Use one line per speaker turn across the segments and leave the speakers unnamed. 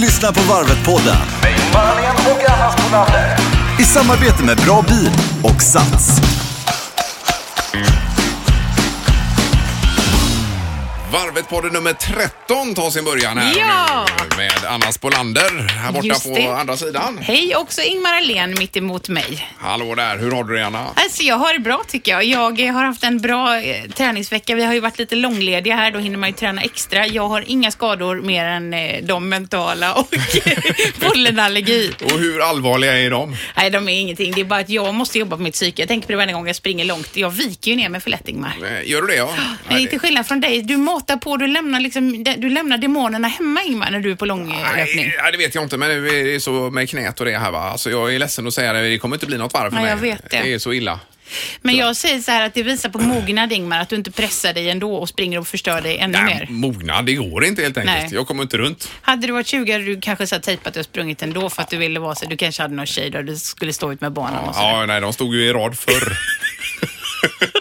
lyssnar på Varvet-podden i samarbete med Bra Bil och Sats.
Varvet-podden nummer 13 tar sin början här
Ja!
nu med Anna Spolander här borta
Just
på
det.
andra sidan.
Hej, också Ingmar Ahlén mitt emot mig.
Hallå där, hur har du det Anna?
Alltså jag har det bra tycker jag. Jag eh, har haft en bra eh, träningsvecka. Vi har ju varit lite långlediga här, då hinner man ju träna extra. Jag har inga skador mer än eh, de mentala och pollenallergi.
Och hur allvarliga är de?
Nej, de är ingenting. Det är bara att jag måste jobba på mitt psyke. Jag tänker på det varje gång jag springer långt. Jag viker ju ner mig för lätt Ingmar.
Eh, Gör du det ja?
Nej,
Nej,
till skillnad från dig, du matar på, du lämnar, liksom, du lämnar demonerna hemma Ingmar när du är på långlöpning.
Nej, nej, det vet jag inte, men det är så med knät och det här va. Alltså, jag är ledsen att säga det, det kommer inte bli något varv för
Nej,
mig.
jag vet det.
det är så illa.
Men jag säger så här att det visar på mognad Ingmar, att du inte pressar dig ändå och springer och förstör dig ännu
Nej,
mer.
mognad, det går inte helt enkelt.
Nej.
Jag kommer inte runt.
Hade du varit 20 hade du kanske så här tejpat och sprungit ändå för att du ville vara så. Du kanske hade någon tjej där du skulle stå ut med barnen och så.
Ja, nej, de stod ju i rad förr.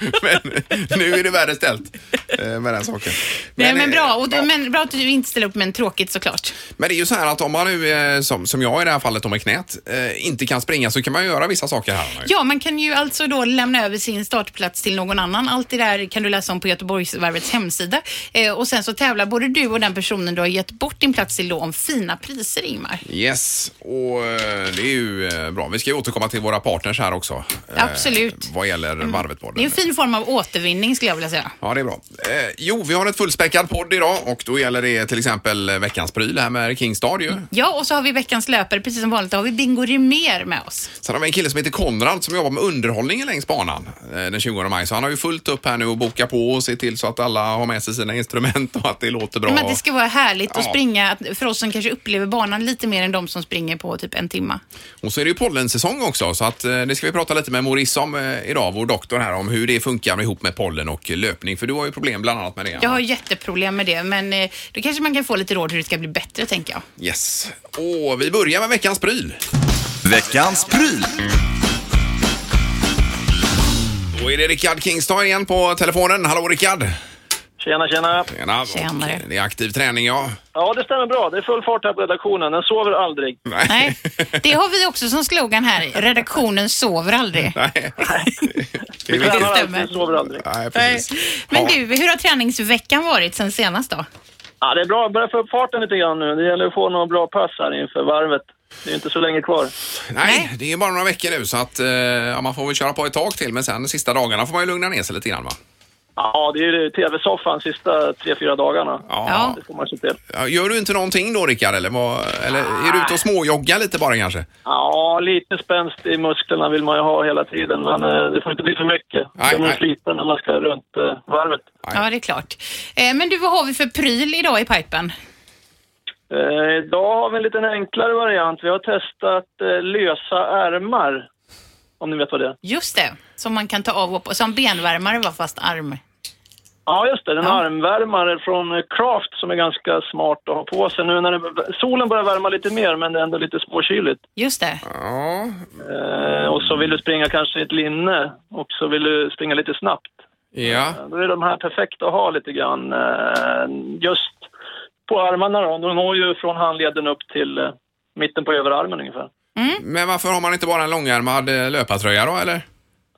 men nu är det värre ställt eh, med den saken.
Nej men
eh,
bra, och du,
ja.
men bra att du inte ställer upp men tråkigt såklart.
Men det är ju så här att om man nu, eh, som, som jag i det här fallet om med knät, eh, inte kan springa så kan man ju göra vissa saker här. Ja.
Ja, man kan ju alltså då lämna över sin startplats till någon annan. Allt det där kan du läsa om på Göteborgsvarvets hemsida. Eh, och sen så tävlar både du och den personen du har gett bort din plats till då om fina priser Ingmar.
Yes, och eh, det är ju eh, bra. Vi ska ju återkomma till våra partners här också. eh,
Absolut. Mm.
Vad gäller varvet på
Det är en fin form av återvinning skulle jag vilja säga.
Ja, det är bra. Eh, jo, vi har ett fullspäckat podd idag och då gäller det till exempel eh, veckans pryl här med Kingstad ju.
Ja, och så har vi veckans löpare, precis som vanligt, då har vi Bingo Rimér med oss.
Sen har vi en kille som heter Konrad som jobbar med underhållningen längs banan eh, den 20 maj. Så han har ju fullt upp här nu och boka på och se till så att alla har med sig sina instrument och att det låter bra.
Men att det ska vara härligt att
Ja.
springa, att- för oss som kanske upplever banan lite mer än de som springer på typ en timma.
Och så är det ju pollensäsong också så att eh, det ska vi prata lite med Maurice om eh, idag, vår doktor här, om hur det funkar ihop med pollen och löpning. För du har ju problem bland annat med det.
Jag har jätteproblem med det, men eh, då kanske man kan få lite råd hur det ska bli bättre, tänker jag.
Yes. Och vi börjar med veckans pryl.
Veckans pryl.
Då är det Rickard Kingstad igen på telefonen. Hallå Rickard!
Tjena, tjena.
Tjena.
Tjenare.
Och Det är aktiv träning ja.
Ja, det stämmer bra. Det är full fart här på redaktionen. Den sover aldrig.
Nej, det har vi också som slogan här. Redaktionen sover aldrig.
Nej. Det är
Vi
Det
viktigt.
tränar
stämmer.
alltid, sover aldrig.
Nej,
Nej.
precis.
Men
Ja.
du, hur har träningsveckan varit sen senast då?
Ja, det är bra. Börja få upp farten lite grann nu. Det gäller att få några bra pass här inför varvet. Det är inte så länge kvar.
Nej,
Nej.
det är bara några veckor nu så att eh, ja, man får väl köra på ett tag till men sen sista dagarna får man ju lugna ner sig lite grann va?
Ja, det är ju tv-soffan sista tre, fyra dagarna.
Ja.
Det får man se till.
Ja, Gör du inte någonting då Rickard eller, vad, eller är du ute och småjoggar lite bara kanske?
Ja, lite spänst i musklerna vill man ju ha hela tiden, men eh, det får inte bli för mycket.
Nej,
Det blir
nej.
sliten när man ska runt eh, varvet.
Nej.
Ja, det är klart. Eh, Men du, vad har vi för pryl idag i pipen?
Eh, idag har vi en liten enklare variant. Vi har testat eh, lösa ärmar, om ni vet vad det är.
Just det, som man kan ta av och på, som benvärmare var fast arm.
Ja, just det. En
Ja.
armvärmare från Craft som är ganska smart att ha på sig nu när det, solen börjar värma lite mer, men det är ändå lite småkyligt.
Just det.
Ja,
Eh, och så vill du springa kanske i ett linne och så vill du springa lite snabbt.
ja.
Då är de här perfekta att ha lite grann eh, just på armarna då. De når ju från handleden upp till eh, mitten på överarmen ungefär.
Men varför har man inte bara en långärmad eh, löpartröja då eller?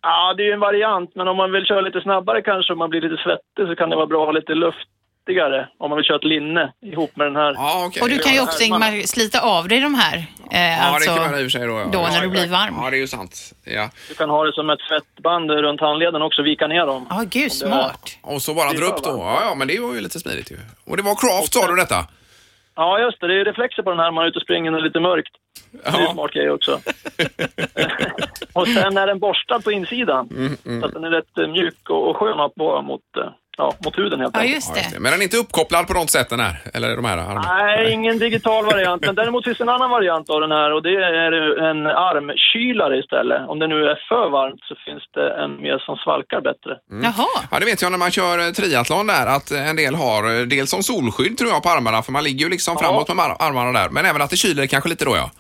Ja, det är ju en variant, men om man vill köra lite snabbare kanske, om man blir lite svettig så kan det vara bra att ha lite luftigare om man vill köra ett linne ihop med den här.
Ja, okej.
Och du kan ju
Ja,
också Ingmar slita av dig de här. eh,
det kan man i och för sig då. Ja.
då
ja,
när du blir
exakt.
varm.
Ja, det är ju sant. Ja.
Du kan ha det som ett fettband runt handleden också, vika ner dem.
Ja, gud,
det-
smart.
Och så bara
Det är
dra upp
bra,
då. Ja, ja, men det var ju lite smidigt ju. Och det var Craft sa du detta?
Ja, just det. Det är ju reflexer på den här när man är ute och springer när det är lite mörkt. Det är en
Ja.
smart grej också. och sen är den borstad på insidan. Så att den är rätt eh, mjuk och, och skön att vara mot, eh, ja, mot huden helt
Ja,
enkelt.
just
Ja, just det.
det.
Men den är inte uppkopplad på något sätt den här? Eller de här armarna?
Nej, ingen digital variant. Men däremot finns det en annan variant av den här och det är en armkylare istället. Om det nu är för varmt så finns det en mer som svalkar bättre.
Mm.
Jaha.
Ja, det vet jag när man kör eh, triathlon där att eh, en del har eh, dels som solskydd tror jag på armarna för man ligger ju liksom framåt med mar- armarna där. Men även att det kyler kanske lite då ja.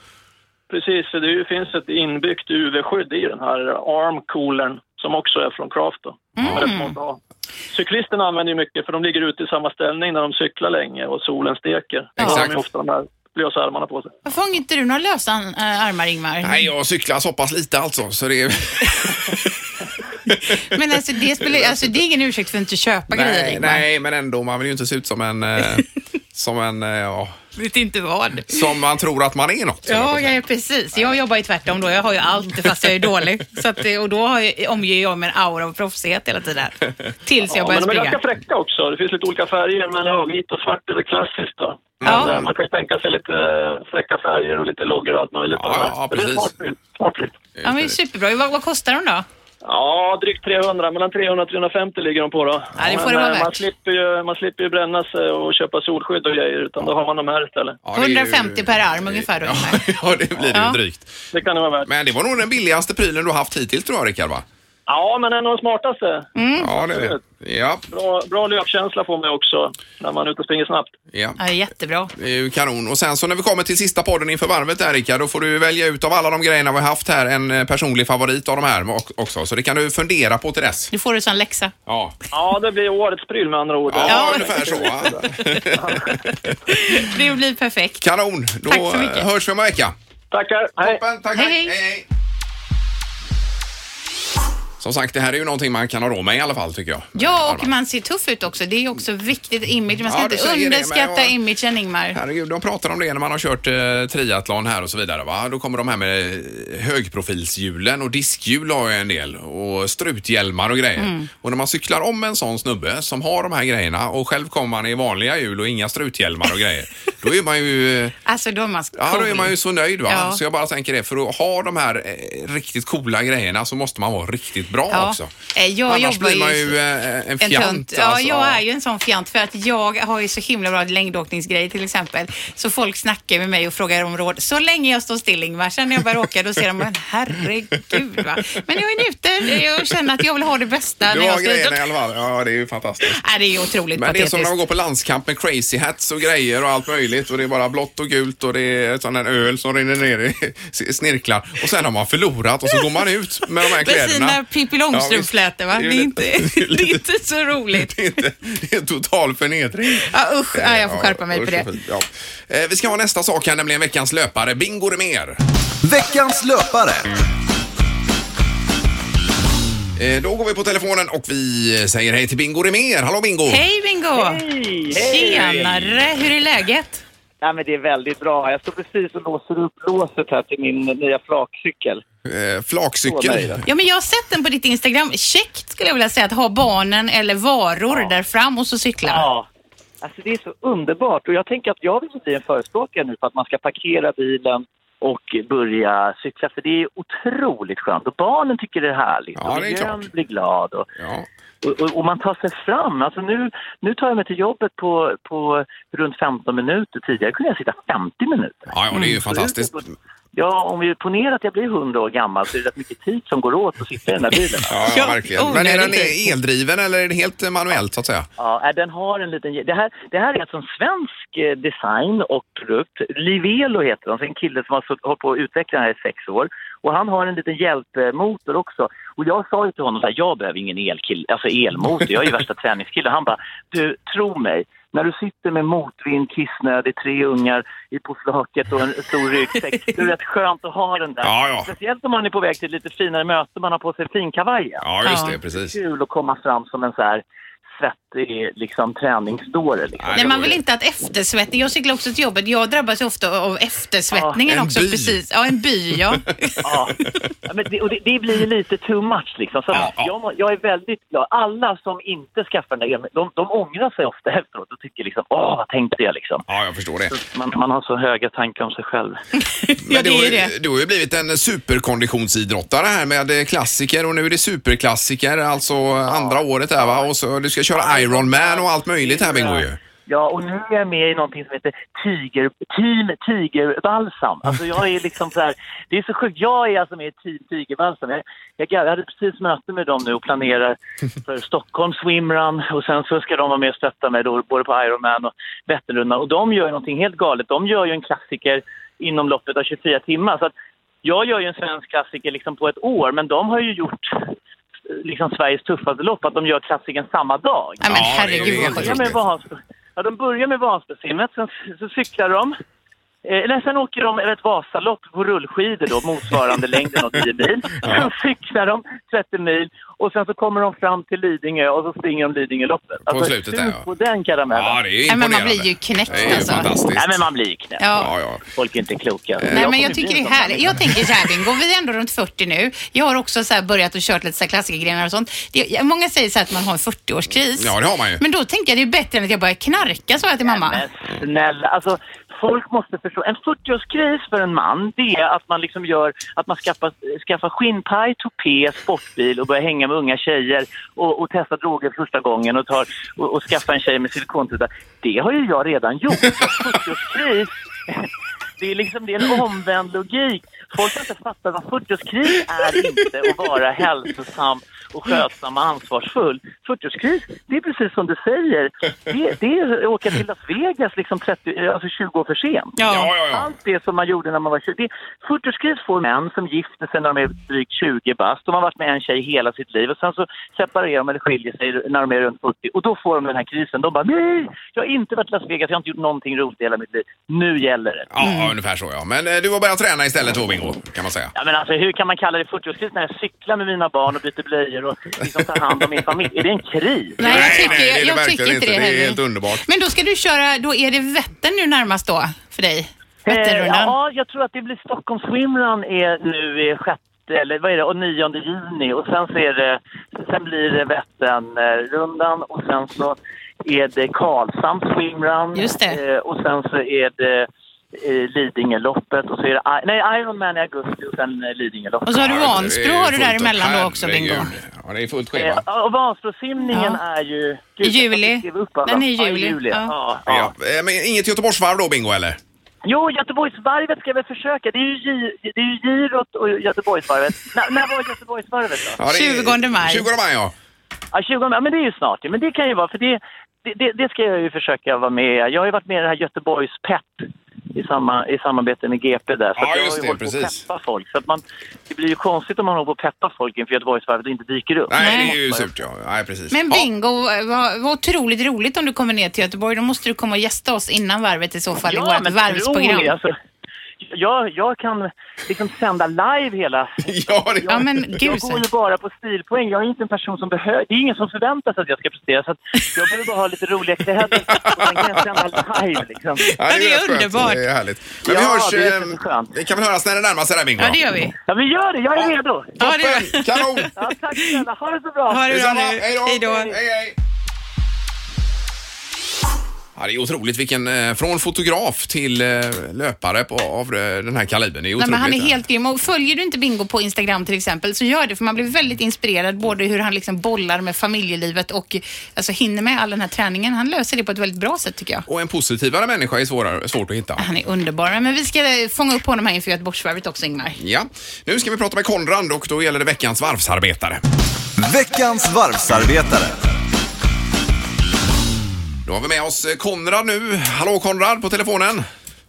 Precis, för det finns ett inbyggt UV-skydd i den här armcoolern som också är från Craft. Då.
Mm.
Som är rätt smart att ha. Cyklisterna använder ju mycket för de ligger ute i samma ställning när de cyklar länge och solen steker. Då har De
Exakt.
ju ofta de här lösa armarna på sig.
Varför har inte du några lösa eh, armar, Ingmar?
Nej, jag cyklar så pass lite alltså så det är...
Men alltså det, spelar, alltså det är ingen ursäkt för att inte köpa grejer,
nej,
Ingmar.
nej, men ändå, man vill ju inte se ut som en... Eh, som en... Eh, ja,
Vet inte vad.
som man tror att man är något. så jag
Ja,
får
jag
säga.
är precis. Jag jobbar ju tvärtom då. Jag har ju allt fast jag är dålig. Så att, eh, och då har jag, omger jag mig en aura av proffsighet hela tiden. Tills jag
Ja, men
börjar
de är
springa.
ganska fräcka också. Det finns lite olika färger, men ja, vitt och svart är det klassiskt. Då.
Ja.
Men, eh, man kan ju tänka sig lite eh, fräcka färger och lite loggor och allt möjligt.
Ja, ja, ja,
Men det är
precis.
smart bild, Smart bild.
Ja, men superbra. Vad, vad kostar de då?
Ja, drygt 300. Mellan 300 och 350 ligger de på då.
Ja, det får
Men,
det vara
eh, man,
värt.
slipper ju, man slipper ju bränna sig och köpa solskydd och grejer, utan då har man de här istället.
Ja, det är ju-
150 per arm ungefär då,
Ja,
Ingmar.
ja, det blir det ju
Ja.
drygt.
Det kan det vara värt.
Men det var nog den billigaste prylen du har haft hittills tror jag, Rickard, va?
Ja, men en av de smartaste.
Mm.
Ja, det, ja,
Bra, bra löpkänsla får man ju också när man är ute och springer snabbt.
ja.
Ja, jättebra.
Det är ju kanon. Och sen så när vi kommer till sista podden inför varvet där Rickard, då får du välja ut av alla de grejerna vi har haft här en eh, personlig favorit av de här och- också. Så det kan du fundera på till dess.
Nu får du sån läxa.
Ja,
Ja, det blir årets pryl med andra ord.
ja,
Ja.
ungefär så. va?
Det blir perfekt.
Kanon! Då
Tack så mycket.
hörs vi om en vecka.
Tackar, hej!
Toppen, tack,
Hej,
tack.
hej.
Som sagt, det här är ju någonting man kan ha råd med i alla fall tycker jag.
Ja, och
Arman.
man ser tuff ut också. Det är ju också viktigt. Image. Man ska
Ja, du
inte
säger det, men
underskatta
jag-
imagen, Ingmar.
Herregud, de pratar om det när man har kört eh, triathlon här och så vidare. Va? Då kommer de här med eh, högprofilshjulen och diskhjul har jag en del och struthjälmar och grejer.
Mm.
Och när man cyklar om en sån snubbe som har de här grejerna och själv kommer man i vanliga hjul och inga struthjälmar och grejer. Då är man ju, eh,
Alltså, då är man
ja, då är
cool.
man ju så nöjd. Va?
Ja.
Så jag bara tänker det, för att ha de här eh, riktigt coola grejerna så måste man vara riktigt bra
Ja.
också.
Eh, jag
Annars
jobbar
blir man
ju-
ju eh, en
En
fjant.
tönt. Ja,
alltså.
jag är ju en sån fjant för att jag har ju så himla bra längdåkningsgrejer till exempel. Så folk snackar med mig och frågar om råd så länge jag står still Ingmar. Sen när jag börjar åka då ser de, men herregud va. Men jag njuter jag känner att jag vill ha det bästa när
Du har
jag ska ut.
grejerna i alla fall. Ja, det är ju fantastiskt.
Nej, det är ju otroligt
Men det är
patetiskt.
som när man går på landskamp med crazy hats och grejer och allt möjligt och det är bara blått och gult och det är sån där öl som rinner ner i snirklar och sen har man förlorat och så går man ut med de här kläderna.
med sina Pippi Långstrump-flätor va?
Ja,
Det
visst.
är, inte,
ju
det är
lite-
inte så roligt.
det är inte- det är en total förnedring.
Ja, usch,
Eh,
ja, jag får skärpa mig
usch,
på det.
fint. Ja. Eh, Vi ska ha nästa sak här, nämligen veckans löpare. Bingo det mer.
Veckans löpare.
Eh, Då går vi på telefonen och vi säger hej till Bingo det mer. Hallå Bingo!
Hej Bingo! Tjenare! Hur är läget?
Nej, men det är väldigt bra. Jag står precis och låser upp låset här till min nya flakcykel.
Eh,
Åh, nej
Flakcykel.
då.
Ja, men jag har sett den på ditt Instagram. Käckt skulle jag vilja säga att ha barnen eller varor där fram och så cykla.
Ja. Alltså det är så underbart och jag tänker att jag vill bli en förespråkare nu för att man ska parkera bilen och börja cykla för det är otroligt skönt och barnen tycker det är härligt
Ja,
och
det är
miljön
klart.
blir glad och,
Ja.
och, och, och man tar sig fram. Alltså nu, nu tar jag mig till jobbet på, på runt 15 minuter. Tidigare kunde jag sitta 50 minuter.
Ja, ja, det är
Mm.
ju fantastiskt.
Ja, om vi ponerar att jag blir 100 år gammal så är det rätt mycket tid som går åt att sitta i den där bilen.
Ja, ja,
Ja,
verkligen. Men är den
onödigt tid.
eldriven eller är det helt manuellt så att säga?
Ja, äh, den har en liten... Det här, det här är alltså en svensk eh, design och produkt. Livelo heter de, så en kille som har sutt- hållit på att utveckla den här i sex år. Och han har en liten hjälpmotor också. Och jag sa ju till honom så här, jag behöver ingen elkill, alltså elmotor, jag är ju värsta träningskille. Han bara, du, tro mig, när du sitter med motvind, kissnödig, tre ungar i på flaket och en stor ryggsäck, det är rätt skönt att ha den där.
Ja, ja.
Speciellt om man är på väg till lite finare möte, man har på sig finkavajen
Ja, just
Ja.
det. Precis.
kul att komma fram som en så här svettig liksom, träningsdåre. Liksom.
det
Nej, man
var
vill
det.
inte att eftersvettning... Jag cyklar också till jobbet. Jag drabbas ju ofta av eftersvettningen
Ja, en
också.
by.
Precis. Ja, en by. Ja.
Ja. Ja, men det, och det, det blir lite too much. Liksom. Så
Ja, ja.
Jag, må- jag är väldigt glad. Alla som inte skaffar den där elmotorn, de, de ångrar sig ofta efteråt och tycker liksom, åh, vad tänkte jag liksom.
Ja, jag förstår det.
Man, man har så höga tankar om sig själv.
ja,
du,
det
har ju,
är ju det.
du har ju blivit en superkonditionsidrottare här med eh, klassiker och nu är det superklassiker, alltså andra året här va? Och så du ska köra Ironman och allt möjligt här Bingo ju.
Ja, och nu är jag med i någonting som heter tiger, Team Tigerbalsam. Alltså jag är liksom så här, det är så sjukt. Jag är alltså med i Team Tigerbalsam. Jag, jag, jag hade precis möte med dem nu och planerar för Stockholm swimrun och sen så ska de vara med och stötta mig då, både på Ironman och Vätternrundan. Och de gör ju någonting helt galet. De gör ju en klassiker inom loppet av 24 timmar. Så att jag gör ju en svensk klassiker liksom på ett år, men de har ju gjort eh, liksom Sveriges tuffaste lopp, att de gör klassikern samma dag.
Nej, men
Ja, det är ju
herregud
helt
vad
De
sjukt.
börjar med Vansbro. Ja, de börjar med Vansbrosimmet, sen så cyklar de. Eh, eller sen åker de över ett Vasalopp på rullskidor då, motsvarande längden av 10 mil. Sen cyklar de 30 mil och sen så kommer de fram till Lidingö och så springer de Lidingöloppet. Alltså,
slutet där,
sug
ja.
på den karamellen.
Ja, det är ju
Nej, men man
imponerande.
blir ju knäckt,
Det är ju
alltså.
fantastiskt.
Nej, men man blir ju knäpp.
Ja.
Ja, ja.
Folk är inte
Eh,
kloka.
Nej, men
kommer
typ
jag
bli
tycker det
en
är
sån
härligt.
människa.
Jag tänker så här Bingo, vi är ändå runt 40 nu. Jag har också så här börjat och kört lite så här klassikergrenar och sånt. Det, många säger så här att man har en 40-årskris.
Ja, det har man ju.
Men då tänker jag det är bättre än att jag börjar knarka, sa jag till mamma.
Men snälla, alltså folk måste förstå. En 40-årskris för en man, det är att man liksom gör, att man skaffar, skaffar skinnpaj, tupé, sportbil och börjar hänga med unga tjejer och, och testa droger för första gången och, tar, och, och skaffa en tjej med silikontutta. Det har ju jag redan gjort. Så 40-årskris, det är liksom det är en omvänd logik. Folk har inte fattat vad 40-årskris är inte att vara hälsosam och skötsam och ansvarsfull. 40-årskris, det är precis som du säger. Det, det är att åka till Las Vegas liksom 30, alltså 20 år för sent.
Ja, ja, ja.
Allt det som man gjorde när man var 20. det- 40-årskris får män som gifter sig när de är drygt 20 bast. De har varit med en tjej hela sitt liv och sen så separerar de eller skiljer sig när de är runt 40 och då får de den här krisen. De bara nej, jag har inte varit i Las Vegas, jag har inte gjort någonting roligt i hela mitt liv. Nu gäller det.
Mm.
Ja, ungefär så ja. Men eh, du har börjat träna istället då, Bingo, kan man säga.
Ja, men alltså, hur kan man kalla det 40-årskris när jag cyklar med mina barn och byter blöjor och liksom tar hand om min familj? Är det en kris?
Nej, jag tycker,
det är det
jag, jag
verkligen
tycker inte det
Det är
heller.
helt underbart.
Men då ska du köra, då är det Vättern nu närmast då för dig? Vätternrundan?
Eh, ja, jag tror att det blir Stockholm Swimrun är nu i sjätte, eller vad är det, och nionde juni och sen så är det, sen blir det Vätternrundan och sen så är det Karlshamns Swimrun
Just det.
Eh, och sen så är det eh, Lidingöloppet och så är det, I- nej Ironman i augusti och sen eh, Lidingöloppet.
Och så har du
Ja, just det.
Vansbro
Det är
har du
fullt
däremellan
upp.
då också, Bingo.
Herregud. Ja, det är fullt
Eh,
schema.
och Vansbrosimningen
Ja.
är ju...
I juli.
jag skrev upp alla.
Den är i
Ja,
juli. Ja.
Ja. Ja.
Ja. eh, Men inget Göteborgsvarv då, Bingo, eller?
Jo, Göteborgsvarvet ska jag väl försöka. Det är ju, gi- det är ju girot och Göteborgsvarvet. N- när var Göteborgsvarvet då?
Ja, det är-
20 maj.
20 maj, ja.
Ja, 20, ja, men det är ju snart. ju. Men det kan ju vara, för det, det- det, det ska jag ju försöka vara med i. Jag har ju varit med i det här Göteborgs pepp i, samma, i samarbete med GP där. Så
Ja,
att jag
just
har ju
det,
hållit på att
precis.
peppa folk. Så att man, det blir ju konstigt om man håller på att peppa folk inför Göteborgsvarvet och inte dyker upp.
Nej,
Nej.
det är ju surt, ja. Nej, precis.
Men
Ja.
Bingo, eh, vad, vad otroligt roligt om du kommer ner till Göteborg. Då måste du komma och gästa oss innan varvet i så fall i vårt
men tror
varvsprogram.
ni, alltså, jag, jag kan liksom sända live hela
Ja, det...
Ja men
Jag
gud
går
så.
ju bara på stilpoäng. Jag är inte en person som behöver... Det är ingen som förväntar sig att jag ska prestera. Så att jag behöver bara ha lite roliga kläder och sen kan jag sända live. Liksom.
Ja, det är
rätt skönt.
underbart.
Det är härligt. Men vi
Ja,
hörs...
det är
eh,
jätteskönt.
Vi kan väl höras när det närmar sig där, Bingo?
Ja det gör vi.
Ja, vi gör det. Jag är redo.
Ja det gör vi.
Kanon!
Ja, tack snälla. Ha det så bra.
Ha det bra
Detsamma.
nu.
Hej då!
Hej då.
Hej, hej! Ja, det är otroligt vilken, eh, från fotograf till eh, löpare på, av eh, den här kalibern. Det är
Nej,
otroligt. eh.
men han är
det här.
helt grym. Och följer du inte Bingo på Instagram till exempel så gör det för man blir väldigt inspirerad både hur han liksom bollar med familjelivet och alltså, hinner med all den här träningen. Han löser det på ett väldigt bra sätt tycker jag.
Och en positivare människa är svårare, svårt att hitta.
Han är underbar. Men vi ska eh, fånga upp honom här inför Göteborgsvarvet också Ingmar.
Ja, nu ska vi prata med Konrad och då gäller det veckans varvsarbetare.
Veckans varvsarbetare.
Då har vi med oss eh, Konrad nu. Hallå Konrad på telefonen.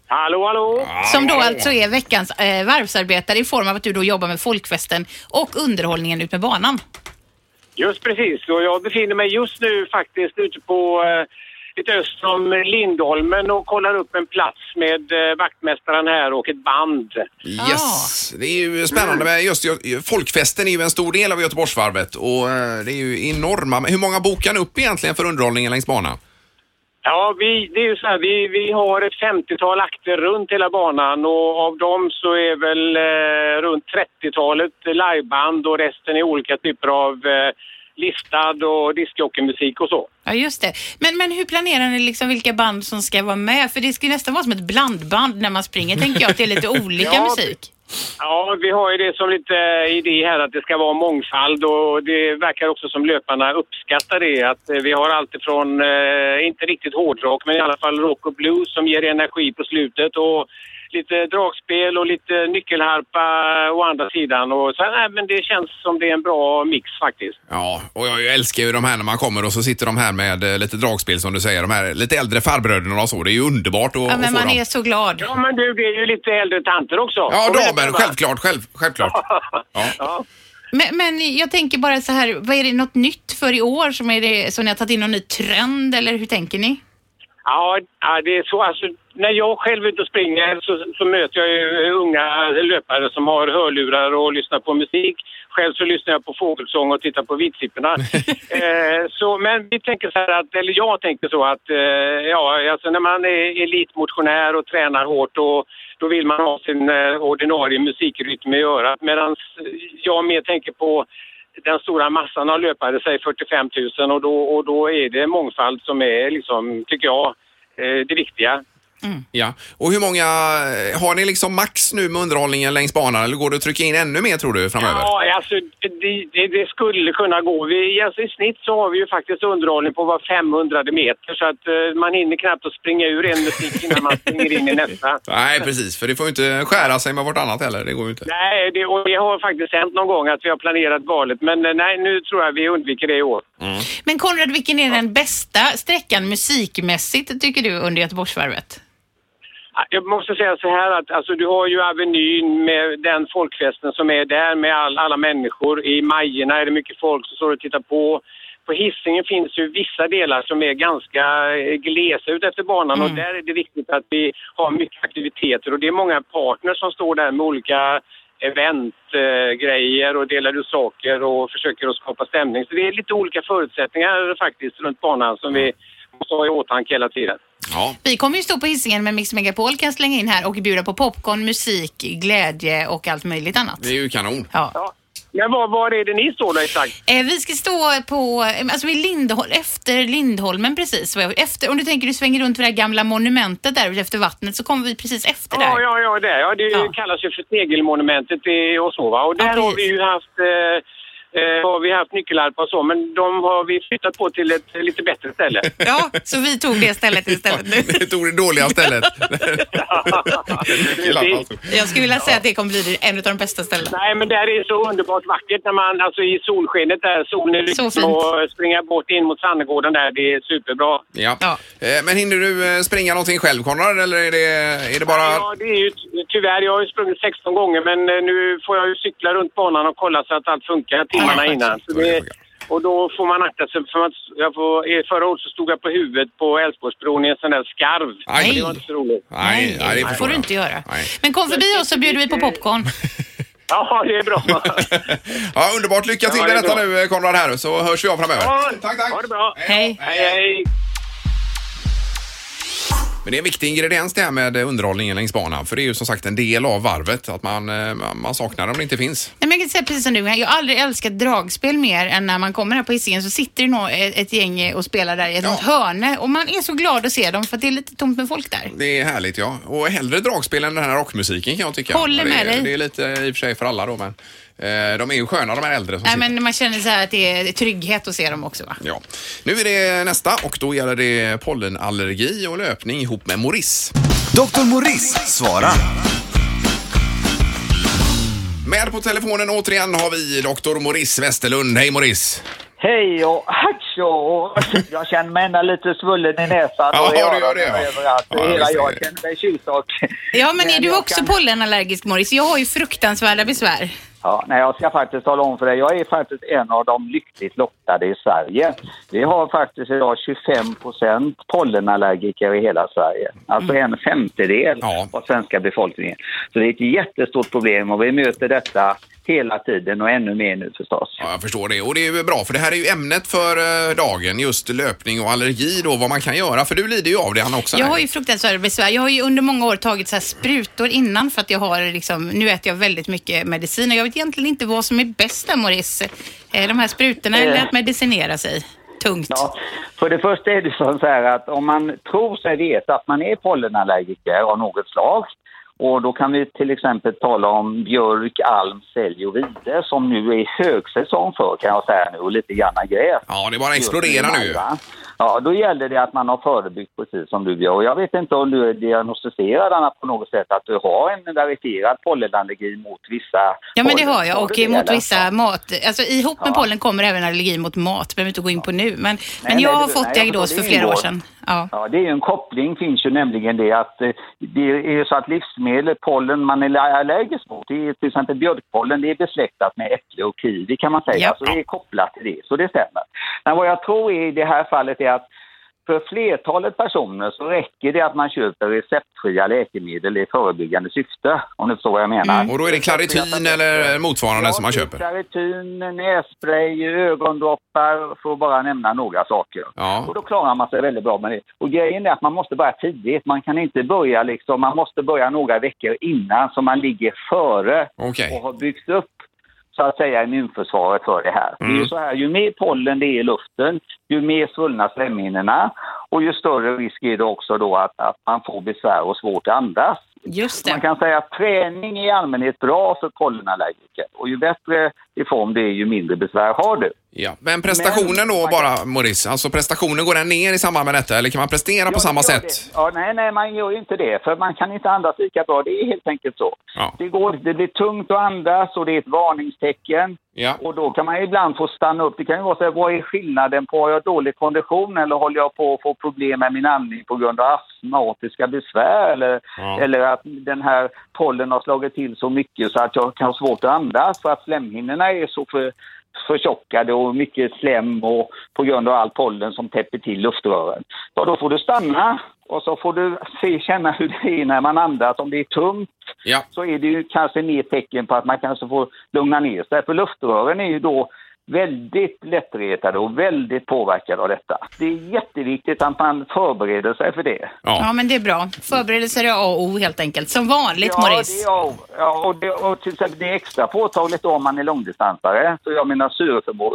Hallå, hallå!
Som då alltså är veckans eh, varvsarbetare i form av att du då jobbar med folkfesten och underhållningen ut med banan.
Just precis, och jag befinner mig just nu faktiskt ute på eh, lite öster om Lindholmen och kollar upp en plats med eh, vaktmästaren här och ett band.
Yes, det är ju spännande med just Gö- folkfesten är ju en stor del av Göteborgsvarvet och eh, det är ju enorma. Men Hur många bokar ni upp egentligen för underhållningen längs banan?
Ja, vi, det är ju så här, vi, vi har ett 50-tal akter runt hela banan och av dem så är väl eh, runt 30-talet liveband och resten är olika typer av eh, listad och discjockeymusik och så.
Ja, just det. Men, men hur planerar ni liksom vilka band som ska vara med? För det ska ju nästan vara som ett blandband när man springer, tänker jag, att det är lite olika
Ja,
musik.
Ja, vi har ju det som lite eh, idé här att det ska vara mångfald och det verkar också som löparna uppskattar det. Att eh, vi har allt ifrån, eh, inte riktigt hårdrock, men i alla fall rock och blues som ger energi på slutet och lite dragspel och lite nyckelharpa å andra sidan. Och så, nej, men det känns som det är en bra mix faktiskt.
Ja, och jag älskar ju de här när man kommer och så sitter de här med eh, lite dragspel som du säger, de här lite äldre farbröderna och så. Det är ju underbart att,
Ja,
att
men
få
man
dem.
är så glad.
Ja, men du, det är ju lite äldre tanter också.
Ja,
Kom igen,
damer,
va?
självklart, själv, självklart. Ja.
Ja.
Men, men jag tänker bara så här, vad är det något nytt för i år som, är det, som ni har tagit in någon ny trend eller hur tänker ni?
Ja, ja, det är så. Alltså, när jag själv är ute och springer så, så möter jag ju eh, unga löpare som har hörlurar och lyssnar på musik. Själv så lyssnar jag på fågelsång och tittar på vitsipporna. eh, så, men vi tänker så här att, eller jag tänker så att, eh, ja, alltså när man är elitmotionär och tränar hårt och då vill man ha sin eh, ordinarie musikrytm i örat. Medan jag mer tänker på den stora massan av löpare, säg 45 000, och då, och då är det mångfald som är, liksom, tycker jag, eh, det viktiga.
Ja. Och hur många, har ni liksom max nu med underhållningen längs banan eller går det att trycka in ännu mer tror du framöver?
Ja, alltså det, det, det skulle kunna gå. Vi, alltså, I snitt så har vi ju faktiskt underhållning på var 500 meter så att eh, man hinner knappt att springa ur en musik innan man springer in i nästa.
Nej, precis, för det får ju inte skära sig med vartannat heller. Det går ju inte.
Nej, det, och det har faktiskt hänt någon gång att vi har planerat valet men eh, nej, nu tror jag vi undviker det i år.
Men Konrad, vilken är den bästa sträckan musikmässigt tycker du under Göteborgsvarvet?
Ah, Jag måste säga så här att alltså, du har ju Avenyn med den folkfesten som är där med all, alla människor. I Majerna är det mycket folk som står och tittar på. På Hisingen finns ju vissa delar som är ganska eh, glesa ut efter banan och där är det viktigt att vi har mycket aktiviteter och det är många partners som står där med olika eventgrejer eh, grejer och delar ut saker och försöker att skapa stämning. Så det är lite olika förutsättningar faktiskt runt banan som vi måste ha i åtanke hela tiden.
Ja.
Vi kommer ju stå på Hisingen med Mix Megapol kan jag slänga in här och bjuda på popcorn, musik, glädje och allt möjligt annat.
Det är ju kanon.
Ja.
Ja. Men var, var är det ni står då exakt?
Eh, vi ska stå på, eh, alltså vid Lindholm, efter Lindholmen precis. Efter, om du tänker du svänger runt vid det här gamla monumentet där efter vattnet så kommer vi precis efter där.
Ja, ja, ja, det, ja, det
Ja.
kallas ju för Tegelmonumentet i- och så va. Och
Ja,
där har vi
precis.
ju haft, eh, eh, har vi haft nyckelharpa och så, men de har vi flyttat på till ett eh, lite bättre ställe.
Ja, så vi tog det stället istället nu.
Det tog det dåliga stället. alltså.
Jag skulle vilja säga att det kommer bli en av de bästa ställena.
Nej, men där är det så underbart vackert när man, alltså i solskenet där, solen är
Så
lycklig
fint.
och springa bort in mot Sandgården där, det är superbra.
Ja.
Ja.
Eh, Men hinner du eh, springa någonting själv Konrad eller är det, är det bara...
Ja, det är ju ty- tyvärr, jag har ju sprungit 16 gånger men eh, nu får jag ju cykla runt banan och kolla så att allt funkar timmarna
Ja,
innan. Så det, och då får man akta sig för att jag får, eh, förra året så stod jag på huvudet på Älvsborgsbron i en sån där skarv.
Aj.
Det var inte så roligt.
Nej, nej, det
det
förstår
får du
jag.
inte göra.
Nej.
Men kom förbi oss så bjuder vi på popcorn.
Ja, det är bra.
ja, underbart. Lycka till
Ja, det
med
är
detta
bra.
nu eh, Konrad här så hörs vi av framöver.
Ja,
Tack, tack.
Ha det bra.
Hej.
Hej, hej.
Men det är en viktig ingrediens det här med eh, underhållningen längs banan för det är ju som sagt en del av varvet att man, eh, man saknar om det inte finns.
Nej, men jag kan säga precis som du, jag har aldrig älskat dragspel mer än när man kommer här på Hisingen så sitter det nog ett ett gäng eh, och spelar där i ett
Ja.
hörne och man är så glad att se dem för att det är lite tomt med folk där.
Det är härligt ja. Och hellre dragspel än den här rockmusiken kan jag tycka.
Håller
det, är-
med dig.
Det är lite eh, i och för sig för alla då men eh, de är ju sköna de här äldre som
Nej,
sitter.
men man känner så här att det är trygghet att se dem också va?
Ja. Nu är det nästa och då gäller det pollenallergi och löpning ihop med Morris.
Dr. Morris svarar.
Med på telefonen återigen har vi doktor Morris Westerlund. Hej Morris!
Hej och hack och jag känner mig ändå lite svullen i näsan
Ja,
och i
du gör
öronen
det, ja.
överallt.
Ja,
Hela
visst är
jag
det.
känner mig tjuvsak.
Ja, men är
Men
du
jag
också
kan-
pollenallergisk Morris? Jag har ju fruktansvärda besvär.
Ja, nej, jag ska faktiskt tala om för dig. Jag är faktiskt en av de lyckligt lottade i Sverige. Vi har faktiskt idag 25 procent pollenallergiker i hela Sverige. Alltså
Mm.
en femtedel
Ja.
av svenska befolkningen. Så det är ett jättestort problem och vi möter detta hela tiden och ännu mer nu förstås.
Ja, jag förstår det och det är ju bra för det här är ju ämnet för eh, dagen just löpning och allergi då vad man kan göra för du lider ju av det han också.
Jag
här.
har ju fruktansvärda besvär. Jag har ju under många år tagit så här sprutor innan för att jag har liksom, nu äter jag väldigt mycket medicin och jag vet egentligen inte vad som är bäst där Morris. Eh, De här sprutorna eller att medicinera sig. Tungt.
Ja, för det första är det så här att om man tror sig veta att man är pollenallergiker av något slag och då kan vi till exempel tala om björk, alm, sälj och vide som nu är högsäsong för kan jag säga nu och lite grann gräs.
Ja, det bara exploderar nu.
Va? Ja, då gäller det att man har förebyggt precis som du gör. Och jag vet inte om du är diagnostiserad annat på något sätt att du har en verifierad pollenallergi mot vissa
Ja men det har jag
pollensorter,
och eh, mot
eller?
vissa mat, alltså ihop med
Ja.
pollen kommer även allergi mot mat, behöver vi inte gå in på nu. Men, men
nej,
jag
det-
har
nej,
fått
jag
diagnos
förstår,
för
det
flera år
ingår.
sedan. Ja.
Ja, det är ju en koppling finns ju nämligen det att eh, det är ju så att livsmedel, pollen man är allergisk mot, det är till exempel björkpollen, det är besläktat med äpple och kiwi kan man säga,
Ja.
så det är kopplat till det, så det stämmer. Men vad jag tror i det här fallet är att för För flertalet personer så räcker det att man köper receptfria läkemedel i förebyggande syfte, om du förstår vad jag menar.
Mm.
Och då är det klaritin eller motsvarande som man köper?
Claritin, nässpray, ögondroppar, för att bara nämna några saker.
Ja.
Och då klarar man sig väldigt bra med det. Och grejen är att man måste börja tidigt. Man kan inte börja liksom, man måste börja några veckor innan så man ligger före
Okej.
och har byggt upp så att säga immunförsvaret för det här. Det är ju så här, ju mer pollen det är i luften, ju mer svullna slemhinnorna och ju större risk är det också då att, att man får besvär och svårt att andas.
Just
Man
det.
kan säga att träning är i allmänhet bra för pollenallergiker och ju bättre i form det är ju mindre besvär har du.
Ja. Men prestationen då bara, Maurice? Alltså prestationen, går den ner i samband med detta eller kan man prestera på
Ja,
samma
det gör
sätt?
det. Ja, nej, nej, man gör ju inte det, för man kan inte andas lika bra. Det är helt enkelt så.
Ja.
Det, går, det blir tungt att andas och det är ett varningstecken.
Ja.
Och då kan man ibland få stanna upp. Det kan ju vara så här, vad är skillnaden på, har jag dålig kondition eller håller jag på att få problem med min andning på grund av astmatiska besvär eller,
Ja.
eller att den här pollen har slagit till så mycket så att jag kan ha svårt att andas för att slemhinnorna är så för, förtjockade och mycket slem och på grund av all pollen som täpper till luftrören. Så då får du stanna och så får du se, känna hur det är när man andas, om det är tungt
Ja.
så är det ju kanske mer tecken på att man kanske får lugna ner sig. För luftrören är ju då väldigt lättretade och väldigt påverkade av detta. Det är jätteviktigt att man förbereder sig för det.
Ja,
ja.
men det är bra. Förberedelser är A och O helt enkelt. Som vanligt, Maurice.
Ja, det är, ja och, det, och till exempel det är extra påtagligt om man är långdistansare. Så jag menar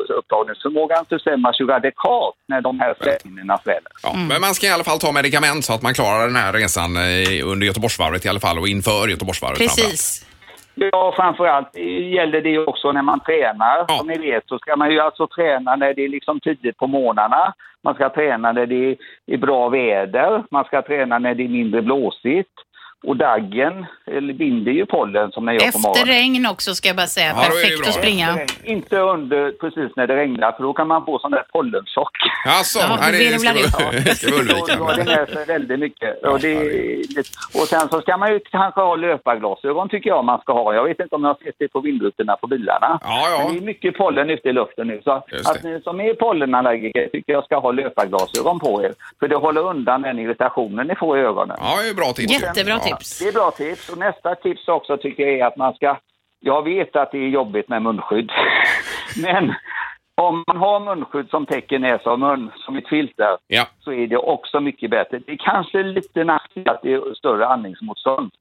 syreupptagningsförmågan försämras ju radikalt när de här slemhinnorna sväller.
Ja.
Mm.
Men man ska i alla fall ta medicament så att man klarar den här resan eh, under Göteborgsvarvet i alla fall och inför Göteborgsvarvet framförallt.
Precis.
Ja, framförallt gäller det ju också när man tränar.
Ja.
Som ni vet så ska man ju alltså träna när det är liksom tidigt på morgnarna. Man ska träna när det är bra väder. Man ska träna när det är mindre blåsigt. Och daggen eller binder ju pollen som den gör på
Efter
morgonen.
regn också ska jag bara säga.
Ja, då är det
Perfekt
bra.
att springa.
Regn. Inte under precis när det regnar för då kan man få sån där pollenchock.
Jaså,
Ja,
nej, det
det
ska
blir
vi, ska vi undvika.
Då drar det
Men.
med sig väldigt mycket. Och, det, och sen så ska man ju kanske ha löparglasögon tycker jag man ska ha. Jag vet inte om ni har sett det på vindrutorna på bilarna.
Ja, ja.
Men det är mycket pollen ute i luften nu. Så
Just det.
att ni som är pollenallergiker tycker jag ska ha löparglasögon på er. För det håller undan den irritationen ni får i ögonen.
Ja, det är ju bra tips.
Jättebra
ja.
tips.
Det är bra tips. Och nästa tips också tycker jag är att man ska... Jag vet att det är jobbigt med munskydd. Men om man har munskydd som täcker näsa och mun som ett filter
Ja.
så är det också mycket bättre. Det är kanske lite nackdel att det är större andningsmotstånd.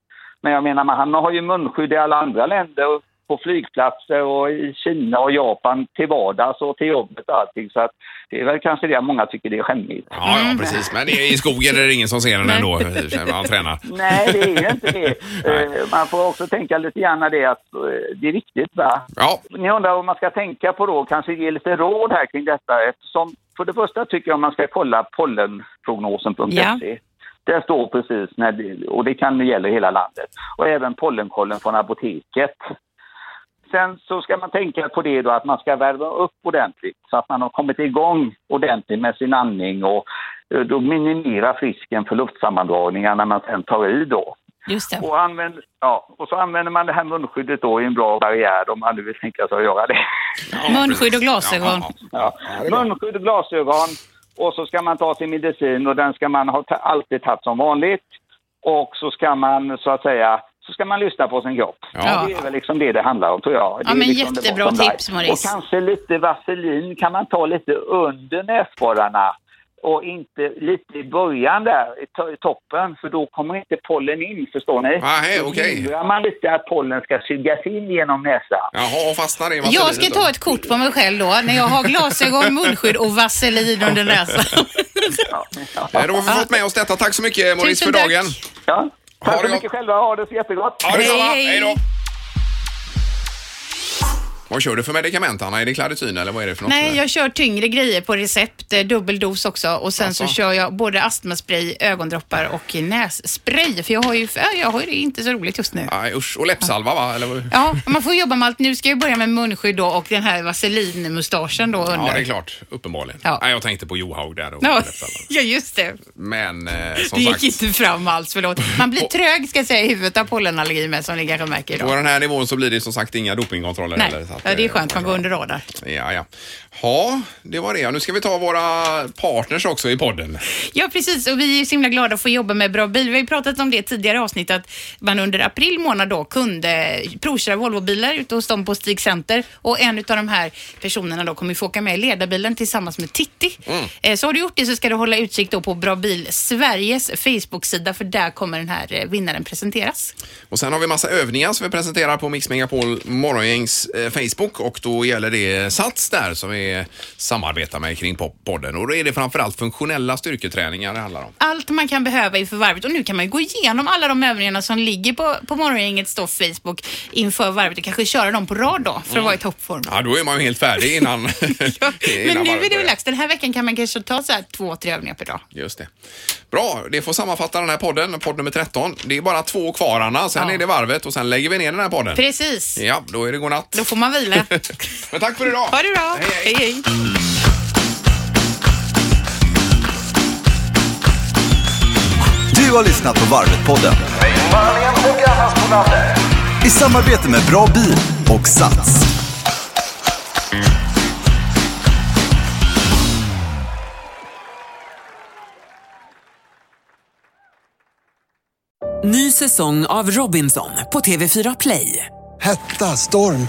Men jag menar, man har ju munskydd i alla andra länder, och på flygplatser och i Kina och Japan till vardags och till jobbet och allting. Så att det är väl kanske det många tycker det är skämmigt.
Ja, ja, precis. Men det är i skogen är det ingen som ser den
Mm. Nej.
ändå, när man tränar.
Nej, det är ju inte det. Eh, man får också tänka lite grann det att eh, det är viktigt va?
Ja,
Ni undrar vad man ska tänka på då, kanske ge lite råd här kring detta eftersom för det första tycker jag man ska kolla pollenprognosen.se.
Ja.
Där står precis, när det, och det kan gälla hela landet, och även pollenkollen från apoteket. Sen så ska man tänka på det då att man ska värva upp ordentligt så att man har kommit igång ordentligt med sin andning och eh, då minimeras risken för luftsammandragningar när man sen tar i då.
Just det.
Och, använd, ja, och så använder man det här munskyddet då i en bra barriär om man nu vill tänka sig att göra det.
ja,
Munskydd
precis.
och glasögon.
Ja, ja,
Ja. Munskydd och glasögon och så ska man ta sin medicin och den ska man ha ta, alltid tagit som vanligt. Och så ska man så att säga så ska man lyssna på sin kropp.
Ja.
Det är väl liksom det det handlar om tror jag. Det
Ja,
är
men
liksom det
jättebra
bottom line.
tips, Maurice.
Och kanske lite vaselin kan man ta lite under näsborrarna och inte lite i början där, i to- i toppen, för då kommer inte pollen in, förstår ni?
Ah, hej,
Då
okej.
hindrar man lite att pollen ska sugas in genom näsan.
ja. Jaha, och fastnar i
Jag ska
vaselinet då?
ta ett kort på mig själv då, när jag har glasögon, munskydd och vaselin under näsan.
Eh, Då har vi fått med oss detta. Tack så mycket, Maurice, för
Tusen tack.
dagen.
Ja.
Ha
Tack
det
så
gott.
mycket själva, ha det så jättegott!
Ja, detsamma.
Hej, hej.
Hej då. Vad kör du för medicament, Anna? Är det klaritin eller vad är det för något?
Nej, jag kör tyngre grejer på recept, eh, dubbel dos också och sen så
Alltså.
kör jag både astmaspray, ögondroppar och nässpray för jag har ju, ja, jag har ju det inte så roligt just nu.
Nej, Ah, usch. Och läppsalva, va? Eller... vad-
Ja, man får jobba med allt. Nu ska jag börja med munskydd då och den här vaselinmustaschen då under.
Ja, det är klart. Uppenbarligen.
Ja.
Nej, jag tänkte på Johaug där och
Ja,
läppsalva.
ja, just det.
Men eh, som
Det gick
sagt.
inte fram alls, förlåt. Man blir trög ska jag säga i huvudet av pollenallergi med som ni kanske märker
På
idag.
den här nivån så blir det som sagt inga dopingkontroller
Nej.
heller. Så att,
Ja, det är
eh,
skönt. Man går under radar.
Ja, ja. Ja, det var det. Ja, Nu ska vi ta våra partners också i podden.
Ja, precis. Och vi är ju så himla glada att få jobba med Bra Bil. Vi har ju pratat om det tidigare i avsnitt att man under april månad då kunde provköra Volvobilar ute hos dem på Stig Center och en av de här personerna då kommer ju få åka med i ledarbilen tillsammans med Titti. Eh, Så har du gjort det så ska du hålla utkik då på Bra Bil Sveriges Facebook-sida för där kommer den här eh, vinnaren presenteras.
Och sen har vi massa övningar som vi presenterar på Mix Megapol Morgongängs eh, Facebook och då gäller det Sats där som vi samarbetar med kring pop- podden. Och då är det framförallt funktionella styrketräningar det handlar om.
allt man kan behöva inför varvet. Och nu kan man ju gå igenom alla de övningarna som ligger på, på morgongängets då Facebook inför varvet och kanske köra dem på rad då för att vara i toppform.
Ja, då är man ju helt färdig innan.
Ja, men
innan varvet
nu är det väl
börjar.
dags. Den här veckan kan man kanske ta så här två, tre övningar per dag.
Just det. Bra, det får sammanfatta den här podden, podd nummer 13. Det är bara två kvar Anna, sen
Ja.
är det varvet och sen lägger vi ner den här podden.
Precis.
Ja, då är det godnatt.
Då får man vila.
Men tack för idag!
Ha det bra.
Hej, hej.
hej.
Du har lyssnat på Varvet-podden i samarbete med Bra Bil och Sats.
Ny säsong av Robinson på TV4 Play.
Hetta, storm,